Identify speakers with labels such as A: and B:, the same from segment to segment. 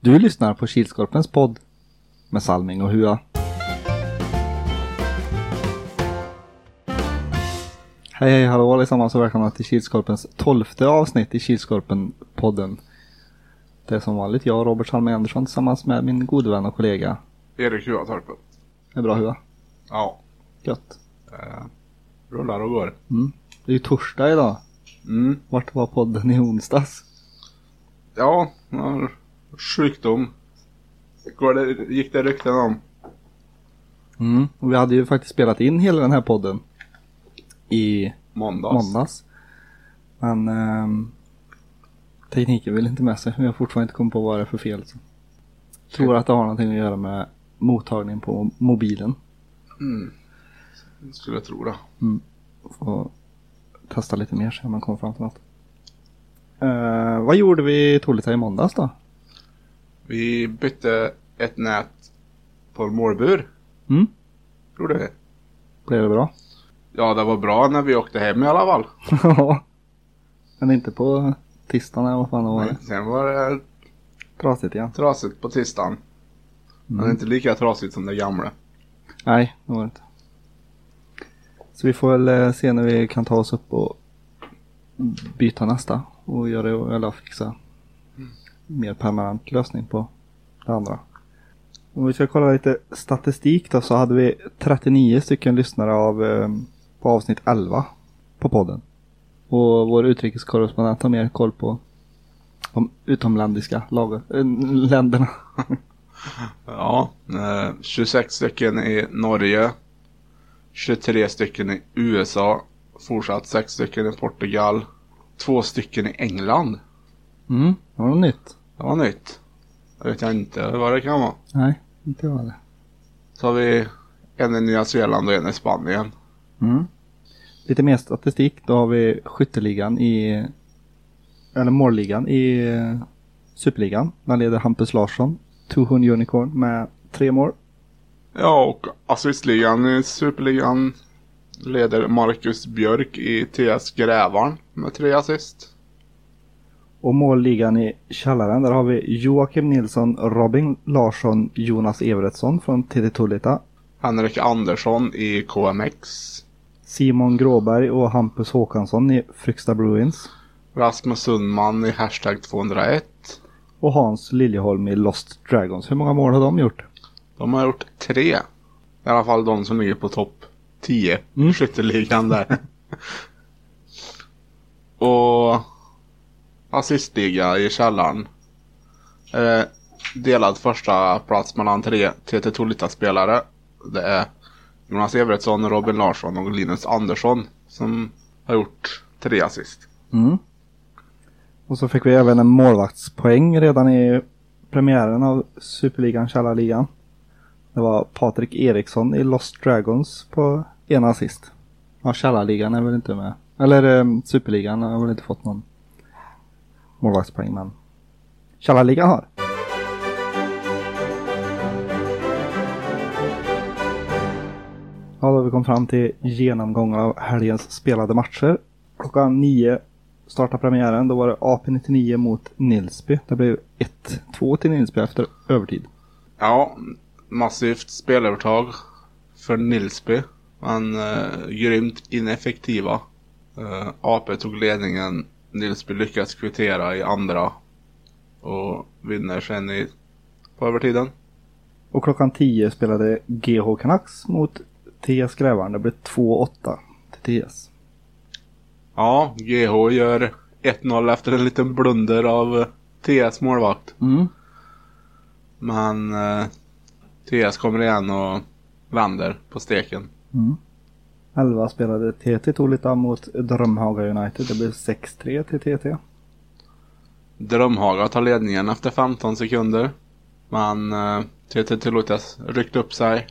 A: Du lyssnar på Kilskorpens podd med Salming och Hua. Hej hej hallå allesammans och välkomna till Kilskorpens tolfte avsnitt i Kilskorpen-podden. Det är som vanligt jag, Robert Salming Andersson, tillsammans med min gode vän och kollega.
B: Erik Huatorpen.
A: Det är bra Hua.
B: Ja.
A: Gött.
B: Rullar och går.
A: Det är ju torsdag idag.
B: Mm.
A: Vart var podden i onsdags?
B: Ja, jag har sjukdom. Går det, gick det rykten om.
A: Mm. Och vi hade ju faktiskt spelat in hela den här podden i
B: Måndags.
A: måndags. Men ehm, tekniken vill inte med sig. Vi har fortfarande inte kommit på vad det är för fel. Så. Tror att det har någonting att göra med mottagningen på mobilen.
B: Mm. Skulle jag tro det.
A: Får testa lite mer sen om man kommer fram till något. Eh, vad gjorde vi i Tolita i måndags då?
B: Vi bytte ett nät på en målbur.
A: Mm.
B: Gjorde vi.
A: Blev det bra?
B: Ja, det var bra när vi åkte hem i alla fall.
A: Ja. Men inte på tisdagen eller vad fan det var.
B: Men Sen var det
A: Trasigt igen.
B: trasigt på tisdagen. Men
A: Mm.
B: inte lika trasigt som det gamla.
A: Nej, det var det inte. Så vi får väl eh, se när vi kan ta oss upp och byta nästa och göra eller fixa mer permanent lösning på det andra. Om vi ska kolla lite statistik då så hade vi 39 stycken lyssnare av, eh, på avsnitt 11 på podden. Och vår utrikeskorrespondent har mer koll på de utomländiska lagen, äh, länderna.
B: Ja, eh, 26 stycken i Norge. 23 stycken i USA. Fortsatt 6 stycken i Portugal. 2 stycken i England.
A: Mm, det var något nytt.
B: Det var nytt. Jag vet jag inte vad det kan vara.
A: Nej, inte jag heller.
B: Så har vi en i Nya Zeeland och en i Spanien.
A: Mm. Lite mer statistik. Då har vi skytteligan i... Eller målligan i eh, Superligan. Där leder Hampus Larsson, Tuhun Unicorn, med tre mål.
B: Ja, och assistligan i Superligan leder Marcus Björk i TS Grävarn med tre assist.
A: Och målligan i källaren, där har vi Joakim Nilsson, Robin Larsson, Jonas Everetsson från TT Tullita,
B: Henrik Andersson i KMX.
A: Simon Gråberg och Hampus Håkansson i Fryksta Bruins
B: Rasmus Sundman i hashtag 201.
A: och Hans Liljeholm i Lost Dragons. Hur många mål har de gjort?
B: De har gjort tre. I alla fall de som ligger på topp 10
A: Mm.
B: i skytteligan där. Och assistliga i källaren. Eh, delad första plats mellan tre TT Tolita-spelare. Det är Jonas Evertsson, Robin Larsson och Linus Andersson som har gjort tre assist.
A: Mm. Och så fick vi även en målvaktspoäng redan i premiären av Superligan, Källarligan. Det var Patrik Eriksson i Lost Dragons på ena assist. Ja, Källarligan är väl inte med. Eller eh, Superligan har väl inte fått någon målvaktspoäng, men Källarligan har. Ja, då har vi kom fram till genomgång av helgens spelade matcher. Klockan nio startade premiären. Då var det AP-99 mot Nilsby. Det blev 1-2 till Nilsby efter övertid.
B: Ja, massivt spelövertag för Nilsby. Men eh, grymt ineffektiva. Eh, AP tog ledningen. Nilsby lyckas kvittera i andra. Och vinner sen i, på övertiden.
A: Och klockan 10 spelade GH Canucks mot TS Grävaren. Det blev 2-8 till TS.
B: Ja, GH gör 1-0 efter en liten blunder av eh, TS målvakt.
A: Mm.
B: Men eh, TS kommer igen och vänder på steken.
A: 11 Mm. spelade TT Tolita mot Drömhaga United. Det blev 6-3 till TT.
B: Drömhaga tar ledningen efter 15 sekunder. Men eh, TT Tulutas ryckte upp sig.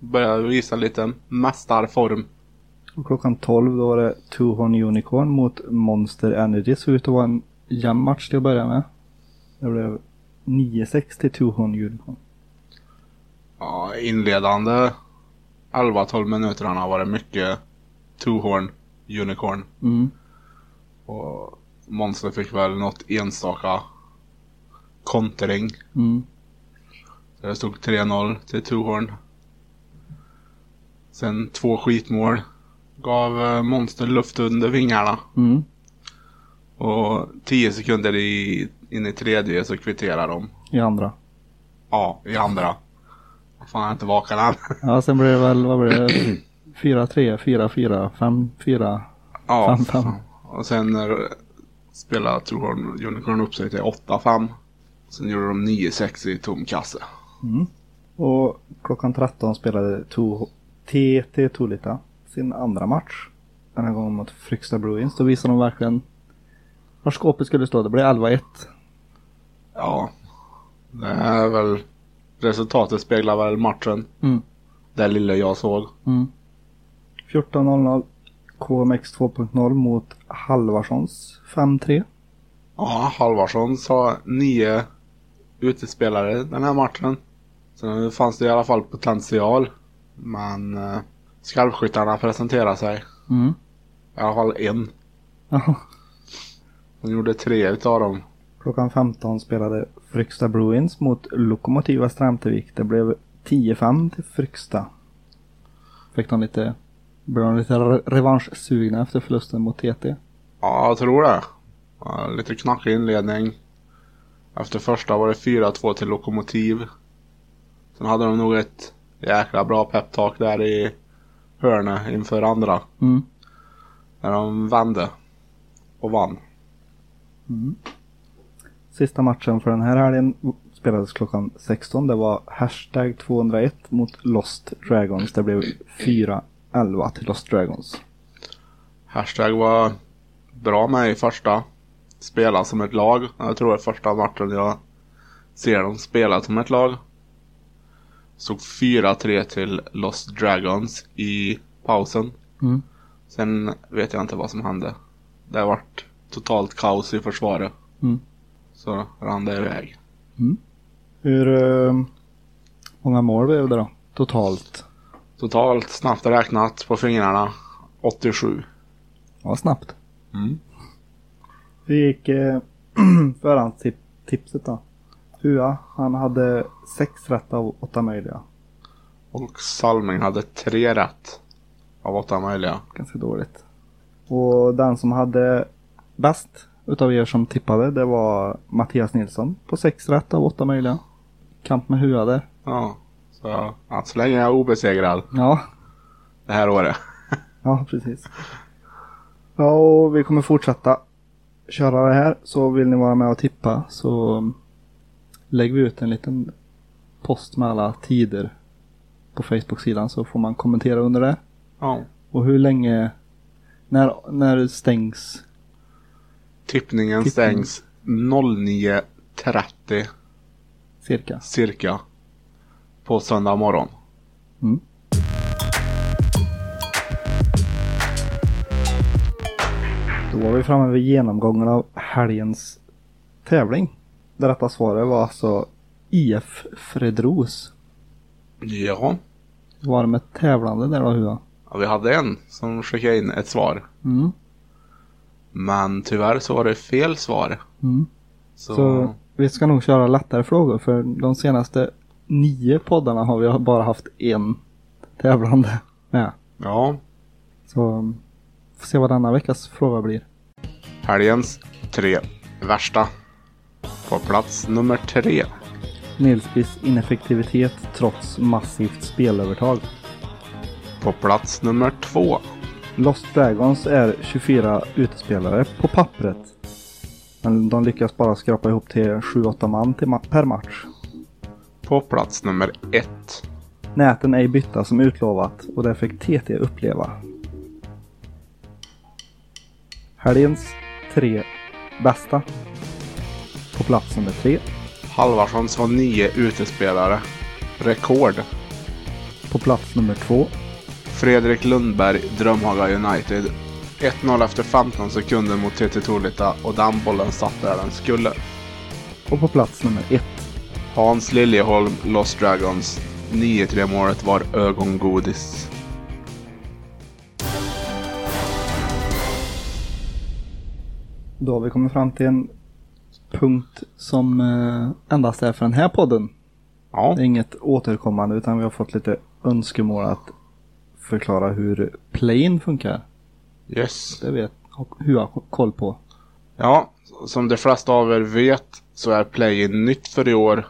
B: Började visa lite mästarform.
A: Och klockan 12 då var det Two Horn Unicorn mot Monster Energy. Såg ut att vara en jämn match till att börja med. Det blev 9-6 till Two Horn Unicorn.
B: Ja, inledande 11-12 minuterna var det mycket two-horn unicorn.
A: Mm.
B: Och Monster fick väl något enstaka kontring.
A: Mm.
B: Där det stod 3-0 till Tuhorn. Sen två skitmål. Gav eh, Monster luft under vingarna.
A: Mm.
B: Och 10 sekunder i, in i tredje så kvitterar de.
A: I andra.
B: Ja, i andra. Vad fan, jag är inte vaken än.
A: Ja, sen blev det väl, vad blev det? 4-3, 4-4, 5-4.
B: Ja.
A: Fem, fem.
B: Och sen eh, spelade Tuhorn Unicorn upp sig till 8-5. Sen gjorde de 9-6 i tom kasse.
A: Och klockan 13 spelade To- TT Tolita sin andra match. Den här gången mot Fryksta Bruins. Då visade de verkligen var skåpet skulle stå. Det blev 11-1.
B: Ja. Det är väl... Resultatet speglar väl matchen.
A: Mm.
B: Det lilla jag såg.
A: 14-0-0. KMX 2.0 mot Halvarssons 5-3.
B: Ja, Halvarsson sa nio utespelare den här matchen. Sen fanns det i alla fall potential. Men eh, skarpskyttarna presenterade sig.
A: Mm.
B: I alla fall en.
A: Ja.
B: De gjorde tre utav dem.
A: Klockan 15 spelade Fryksta Bruins mot Lokomotiva Stramtevik. Det blev 10-5 till Fryksta. Fick de lite, blev de lite re- revanschsugna efter förlusten mot TT.
B: Ja, jag tror det. Ja, lite knackig inledning. Efter första var det 4-2 till Lokomotiv. Sen hade de nog ett jäkla bra peptalk där i hörnet inför andra.
A: Mm.
B: När de vände. Och vann.
A: Sista matchen för den här helgen spelades klockan 16. Det var hashtag 201 mot Lost Dragons. Det blev 4-11 till Lost Dragons.
B: Hashtag var bra med i första. Spela som ett lag. Jag tror det är första matchen jag ser dem spela som ett lag. Stod 4-3 till Lost Dragons i pausen.
A: Mm.
B: Sen vet jag inte vad som hände. Det har varit totalt kaos i försvaret.
A: Mm.
B: Så rann det iväg.
A: Hur eh, många mål blev det då? Totalt?
B: Totalt snabbt räknat på fingrarna 87.
A: Ja, snabbt.
B: Mm.
A: Hur gick eh, förhandstipset då? Hua, han hade sex rätt av åtta möjliga.
B: Och Salming hade tre rätt av åtta möjliga.
A: Ganska dåligt. Och den som hade bäst utav er som tippade, det var Mattias Nilsson på sex rätt av åtta möjliga. Kamp med Hua där.
B: Ja, så än så länge är jag obesegrad
A: Ja,
B: det här året.
A: ja precis. Ja, och vi kommer fortsätta köra det här. Så vill ni vara med och tippa så mm, lägger vi ut en liten post med alla tider på Facebook-sidan så får man kommentera under det.
B: Ja.
A: Och hur länge, när, när stängs?
B: Tippningen
A: Tippning.
B: stängs 09.30
A: Cirka.
B: cirka på söndag morgon.
A: Mm. Då var vi framme vid genomgången av helgens tävling. Det rätta svaret var alltså IF Fredros.
B: Ja.
A: Hur Var det med tävlande där då Hua?
B: ja, vi hade en som skickade in ett svar.
A: Mm.
B: Men tyvärr så var det fel svar.
A: Mm.
B: Så,
A: Så... vi ska nog köra lättare frågor för de senaste nio poddarna har vi bara haft en tävlande med.
B: ja.
A: Så mm, får se vad denna veckas fråga blir.
B: Helgens tre värsta. På plats nummer tre.
A: Nilsbys ineffektivitet trots massivt spelövertag.
B: På plats nummer två.
A: Lost Dragons är 24 utespelare på pappret. Men de lyckas bara skrapa ihop till 7-8 man till ma- per match.
B: På plats nummer ett.
A: Näten ej bytta som utlovat och det fick TT uppleva. Helgens tre bästa. På plats nummer tre.
B: Halvarssons var nio utespelare. Rekord.
A: På plats nummer två.
B: Fredrik Lundberg, Drömhaga United. 1-0 efter 15 sekunder mot TT Torlita och den bollen satt där den skulle.
A: Och på plats nummer ett.
B: Hans Liljeholm, Lost Dragons. 9-3 målet var ögongodis.
A: Då har vi kommit fram till en punkt som eh, endast är för den här podden.
B: Ja.
A: Det är inget återkommande utan vi har fått lite önskemål att förklara hur play-in funkar.
B: Yes.
A: Det vet hur jag har koll på.
B: Ja, som de flesta av er vet så är play-in nytt för i år.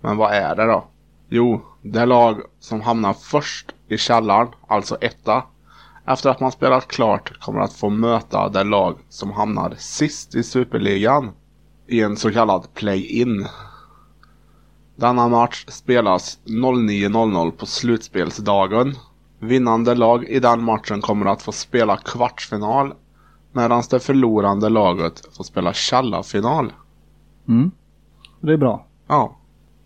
B: Men vad är det då? Jo, det lag som hamnar först i källaren, alltså etta, efter att man spelat klart kommer att få möta det lag som hamnar sist i Superligan i en så kallad play-in. Denna match spelas 09.00 på slutspelsdagen. Vinnande lag i den matchen kommer att få spela kvartsfinal medan det förlorande laget får spela tjallafinal.
A: Mm. Det är bra.
B: Ja.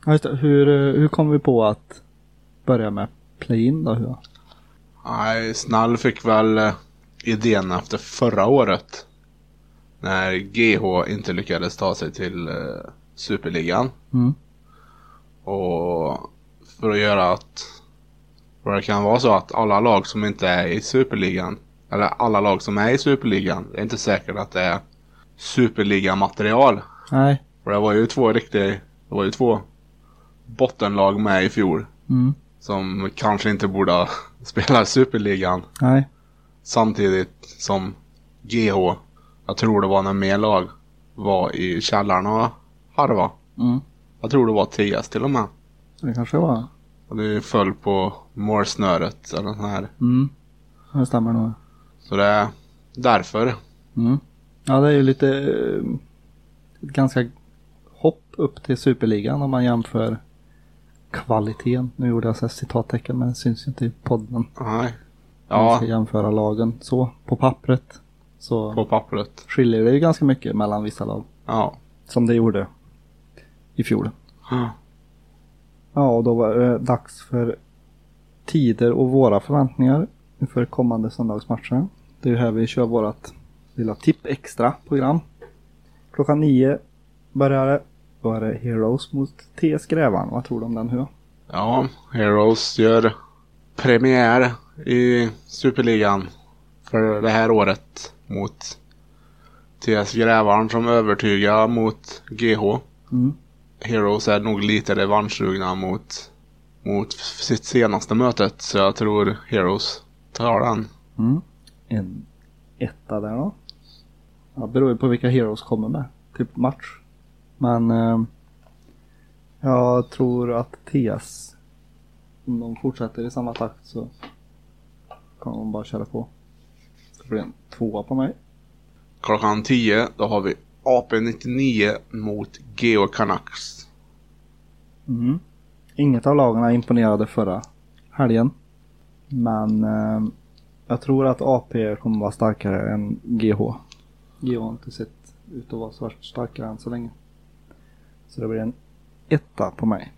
A: Ja, just det. Hur, eh, hur kom vi på att börja med play-in då? Hua?
B: Nej, Snall fick väl eh, idén efter förra året. När GH inte lyckades ta sig till eh, Superligan.
A: Mm.
B: Och för att göra att... För det kan vara så att alla lag som inte är i Superligan. Eller alla lag som är i Superligan. Det är inte säkert att det är Superliga-material.
A: Nej.
B: För det var ju två riktiga... Det var ju två bottenlag med i fjol.
A: Mm.
B: som kanske inte borde ha spelat i Superligan.
A: Nej.
B: Samtidigt som GH, jag tror det var när mer lag var i källaren och harva.
A: Mm.
B: Jag tror det var TS till och med.
A: Det kanske var.
B: Och det föll på målsnöret eller så här.
A: Mm. Det stämmer nog.
B: Så det är därför.
A: Mm. Ja, det är ju lite eh, ett ganska hopp upp till superligan om man jämför kvaliteten. Nu gjorde jag så här citattecken men det syns ju inte i podden.
B: Nej.
A: Om man
B: Ja,
A: ska jämföra lagen så på pappret så
B: på pappret.
A: skiljer det ju ganska mycket mellan vissa lag
B: Ja.
A: som det gjorde i fjol.
B: Mm.
A: Ja, och då var det dags för tider och våra förväntningar inför kommande söndagsmatcher. Det är ju här vi kör vårat lilla tipp extra program. Klockan nio börjar det. Då är det Heroes mot TS Grävan. Vad tror du om den? Hur?
B: Ja, Heroes gör premiär i Superligan för det här året mot TS Grävarn som övertygar mot GH.
A: Mm.
B: Heroes är nog lite revanschsugna mot, mot sitt senaste mötet så jag tror Heroes tar den.
A: Mm. En etta där då. Ja, det beror ju på vilka Heroes kommer med till match. Men eh, jag tror att TS, om de fortsätter i samma takt så kommer de bara köra på. Det blir en tvåa på mig.
B: Klockan 10 då har vi AP99 mot GH Canucks.
A: Mm. Inget av lagarna imponerade förra helgen. Men eh, jag tror att AP kommer vara starkare än GH. GH har inte sett ut att vara så värst starkare än så länge. Så det blir en etta på mig.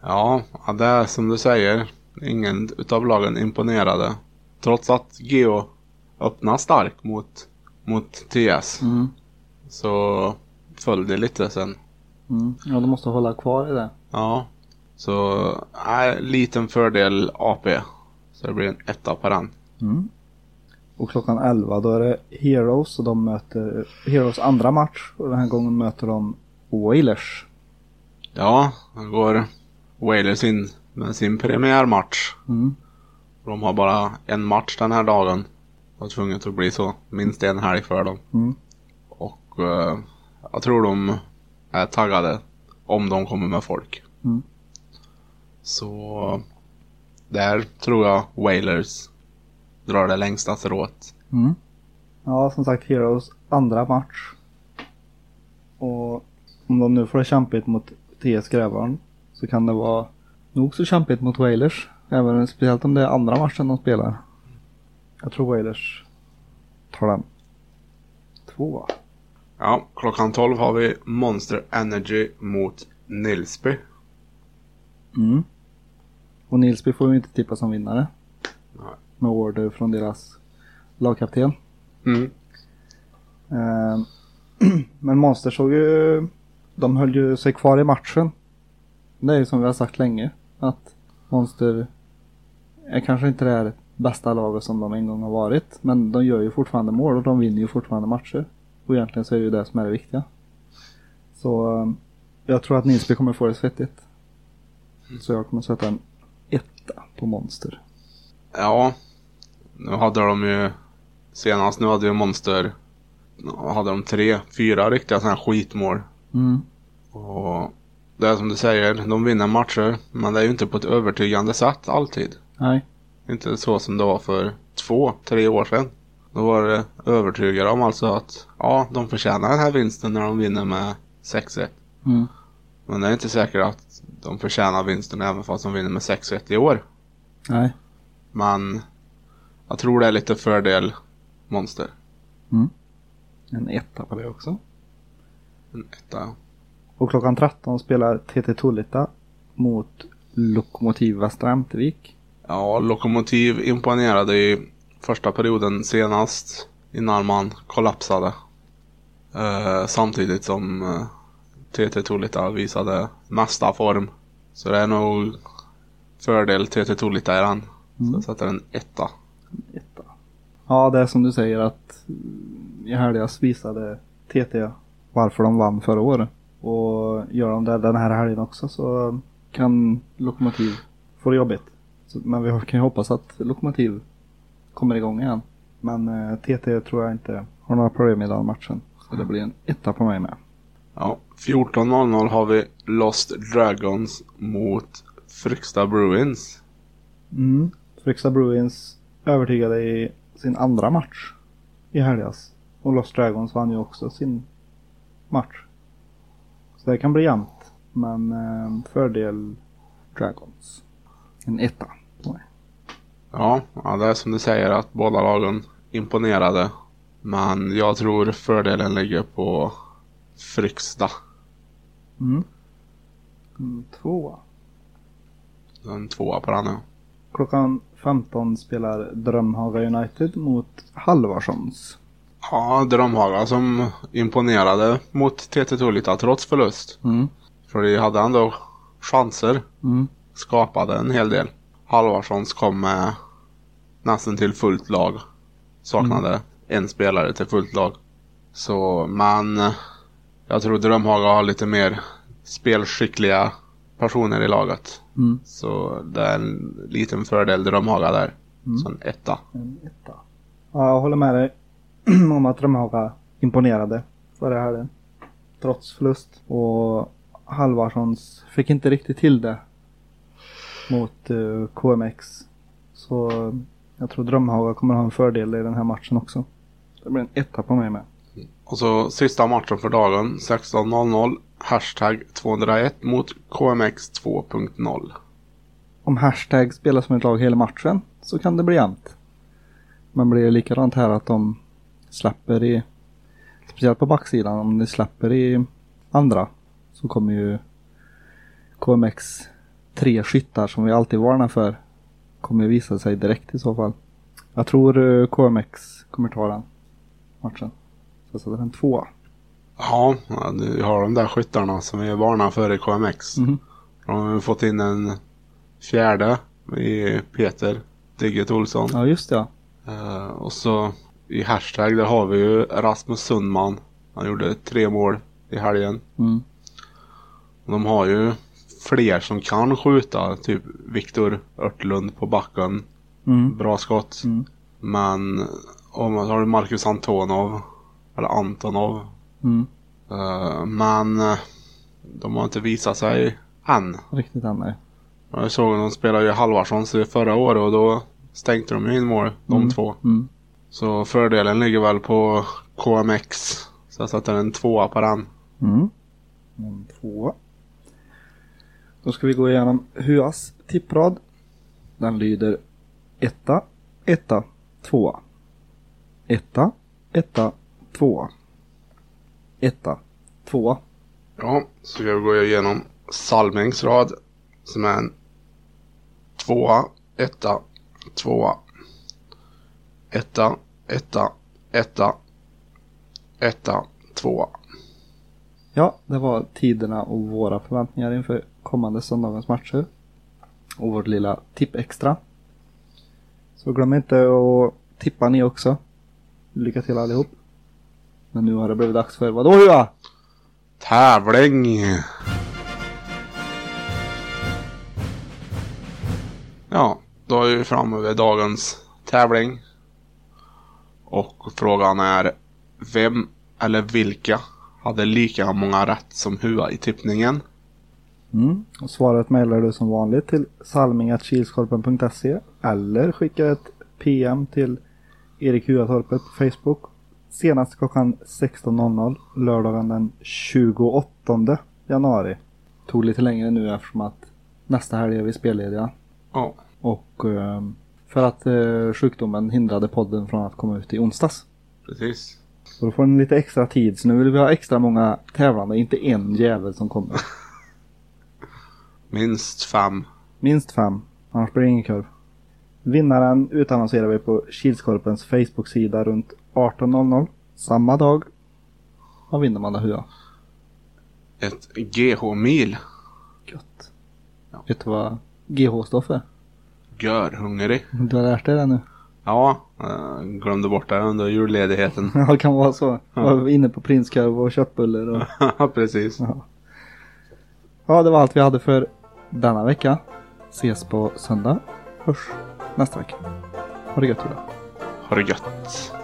B: Ja, ja, det är som du säger. Ingen utav lagen imponerade. Trots att Geo öppnade starkt mot, mot TS
A: Mm.
B: så föll det lite sen.
A: Mm. Ja, de måste hålla kvar i det.
B: Ja, så nej, liten fördel AP. Så det blir en etta på den.
A: Mm. Och klockan 11 då är det Heroes och de möter Heroes andra match. Och den här gången möter de Wailers.
B: Ja, då går Wailers in med sin premiärmatch.
A: Mm.
B: De har bara en match den här dagen. Det var tvunget att bli så. Minst en helg för dem.
A: Mm.
B: Och eh, jag tror de är taggade om de kommer med folk.
A: Mm.
B: Så där tror jag Wailers drar det längsta strået.
A: Mm. Ja, som sagt Heroes andra match. Och om de nu får det kämpigt mot TS Grävaren så kan det vara nog så kämpigt mot Wailers. Även speciellt om det är andra matchen de spelar. Jag tror Wailers tar den. Två.
B: Ja, klockan 12 har vi Monster Energy mot Nilsby.
A: Mm. Och Nilsby får ju inte tippa som vinnare.
B: Nej.
A: Med order från deras lagkapten.
B: Mm.
A: Ehm, Men Monster såg ju, de höll ju sig kvar i matchen. Det är ju som vi har sagt länge, att Monster är kanske inte det här bästa laget som de en gång har varit, men de gör ju fortfarande mål och de vinner ju fortfarande matcher. Och egentligen så är det ju det som är det viktiga. Så eh, jag tror att Nilsby kommer få det svettigt. Så jag kommer sätta en etta på Monster.
B: Ja. Nu hade de ju senast, nu hade ju Monster, hade de tre, fyra riktiga sådana här skitmål.
A: Mm.
B: Och det är som du säger, de vinner matcher, men det är ju inte på ett övertygande sätt alltid.
A: Nej.
B: Inte så som det var för två, tre år sedan. Då var det övertygade om alltså att ja, de förtjänar den här vinsten när de vinner med 6-1.
A: Mm.
B: Men det är inte säkert att de förtjänar vinsten även fast de vinner med 6-1 i år.
A: Nej.
B: Men jag tror det är lite fördel Monster.
A: En etta på det också.
B: En etta.
A: Och klockan 13 spelar TT Tullita mot Lokomotiv Västra Ämtervik.
B: Ja, Lokomotiv imponerade i första perioden senast innan man kollapsade. Eh, samtidigt som eh, TT Tolita visade mesta form. Så det är nog fördel TT Tolita i den. Så
A: Mm.
B: jag sätter en etta.
A: Etta. Ja, det är som du säger att mm, i helgas visade TT varför de vann förra året. Och gör de det den här helgen också så kan Lokomotiv få det jobbigt. Så, men vi kan ju hoppas att Lokomotiv kommer igång igen. Men eh, TT tror jag inte har några problem i den matchen. Så det blir en etta på mig med.
B: Ja, 14.00 har vi Lost Dragons mot Fryksta Bruins.
A: Mm. Fryksta Bruins övertygade i sin andra match i helgas. Och Lost Dragons vann ju också sin match. Så det kan bli jämnt. Men eh, fördel Dragons. En etta. Nej.
B: Ja, ja, det är som du säger att båda lagen imponerade. Men jag tror fördelen ligger på Fryksta.
A: Mm. Mm, tvåa.
B: En tvåa på den. ja.
A: Klockan 15 spelar Drömhaga United mot Halvarssons.
B: Ja, Drömhaga som imponerade mot TT Tullita trots förlust.
A: Mm.
B: För de hade ändå chanser.
A: Mm.
B: Skapade en hel del. Halvarssons kom med nästan till fullt lag. Saknade en spelare till fullt lag. Så, men eh, jag tror Drömhaga har lite mer spelskickliga personer i laget.
A: Mm.
B: Så det är en liten fördel Drömhaga där.
A: Mm.
B: Så en etta.
A: En etta. Ja, jag håller med dig om att Drömhaga imponerade förra helgen. Trots förlust. Och Halvarssons fick inte riktigt till det mot eh, KMX. Så jag tror Drömhaga kommer ha en fördel i den här matchen också. Det blir en etta på mig med.
B: Och så sista matchen för dagen 16.00 Hashtag 201 mot KMX 2.0
A: Om hashtag spelar som ett lag hela matchen så kan det bli jämnt. Men blir det likadant här att de släpper i, speciellt på backsidan, om de släpper i andra så kommer ju KMX tre skyttar som vi alltid varnar för kommer visa sig direkt i så fall. Jag tror eh, KMX kommer ta den matchen. Så jag sätter en tvåa.
B: Ja, du har de där skyttarna som vi varnar för i KMX.
A: Mhm.
B: De har ju fått in en fjärde i Peter Digget Olsson.
A: Ja just det ja.
B: Eh, och så i Hashtag där har vi ju Rasmus Sundman. Han gjorde tre mål i helgen.
A: Mm.
B: De har ju fler som kan skjuta. Typ Viktor Örtlund på backen.
A: Mm.
B: Bra skott.
A: Mm.
B: Men om man har du Marcus Antonov. Eller Antonov.
A: Mm.
B: Eh, men eh, de har inte visat sig än.
A: Riktigt än nej.
B: Jag såg att de spelade ju Halvarssons i förra året och då stänkte de ju in mål. De
A: Mm.
B: två.
A: Mm.
B: Så fördelen ligger väl på KMX. Så jag satte en tvåa på den.
A: Mm. En tvåa. Då ska vi gå igenom Huas tipprad. Den lyder etta, etta, tvåa. Etta, etta, tvåa. Etta, tvåa.
B: Ja, så jag går igenom Salmings rad. Som är en tvåa, etta, tvåa. Etta, etta, etta. Etta, tvåa.
A: Ja, det var tiderna och våra förväntningar inför kommande söndagens matcher. Och vårt lilla tipp extra. Så glöm inte att tippa ni också. Lycka till allihop. Men nu har det blivit dags för vadå Hua?
B: Tävling! Ja, då är vi framme vid dagens tävling. Och frågan är vem eller vilka hade lika många rätt som Hua i tippningen?
A: Mm. Och svaret mejlar du som vanligt till salmingatkilskorpen.se eller skickar ett PM till Erik Huatorpet på Facebook senast klockan 16.00 lördagen den 28 januari. Tog lite längre nu eftersom att nästa helg är vi spellediga
B: Ja,
A: och eh, för att eh, sjukdomen hindrade podden från att komma ut i onsdags.
B: precis.
A: Så då får den lite extra tid så nu vill vi ha extra många tävlande, inte en jävel som kommer.
B: Minst fem.
A: Minst fem, annars blir det ingen korv. Vinnaren utannonserar vi på Kilskorpens Facebook-sida runt 18.00 samma dag. Vad vinner man då Hua?
B: Ett GH-mil.
A: Gött.
B: Ja.
A: Vet du vad GH står för?
B: Gör hungrig.
A: Du har lärt dig det nu.
B: Ja, eh, glömde bort det under julledigheten.
A: Ja, det kan vara så. Jag var inne på prinskorv och köttbullar och...
B: precis.
A: Ja, det var allt vi hade för denna vecka. Ses på söndag. Hörs nästa vecka. Ha det gött idag.
B: Har det gött.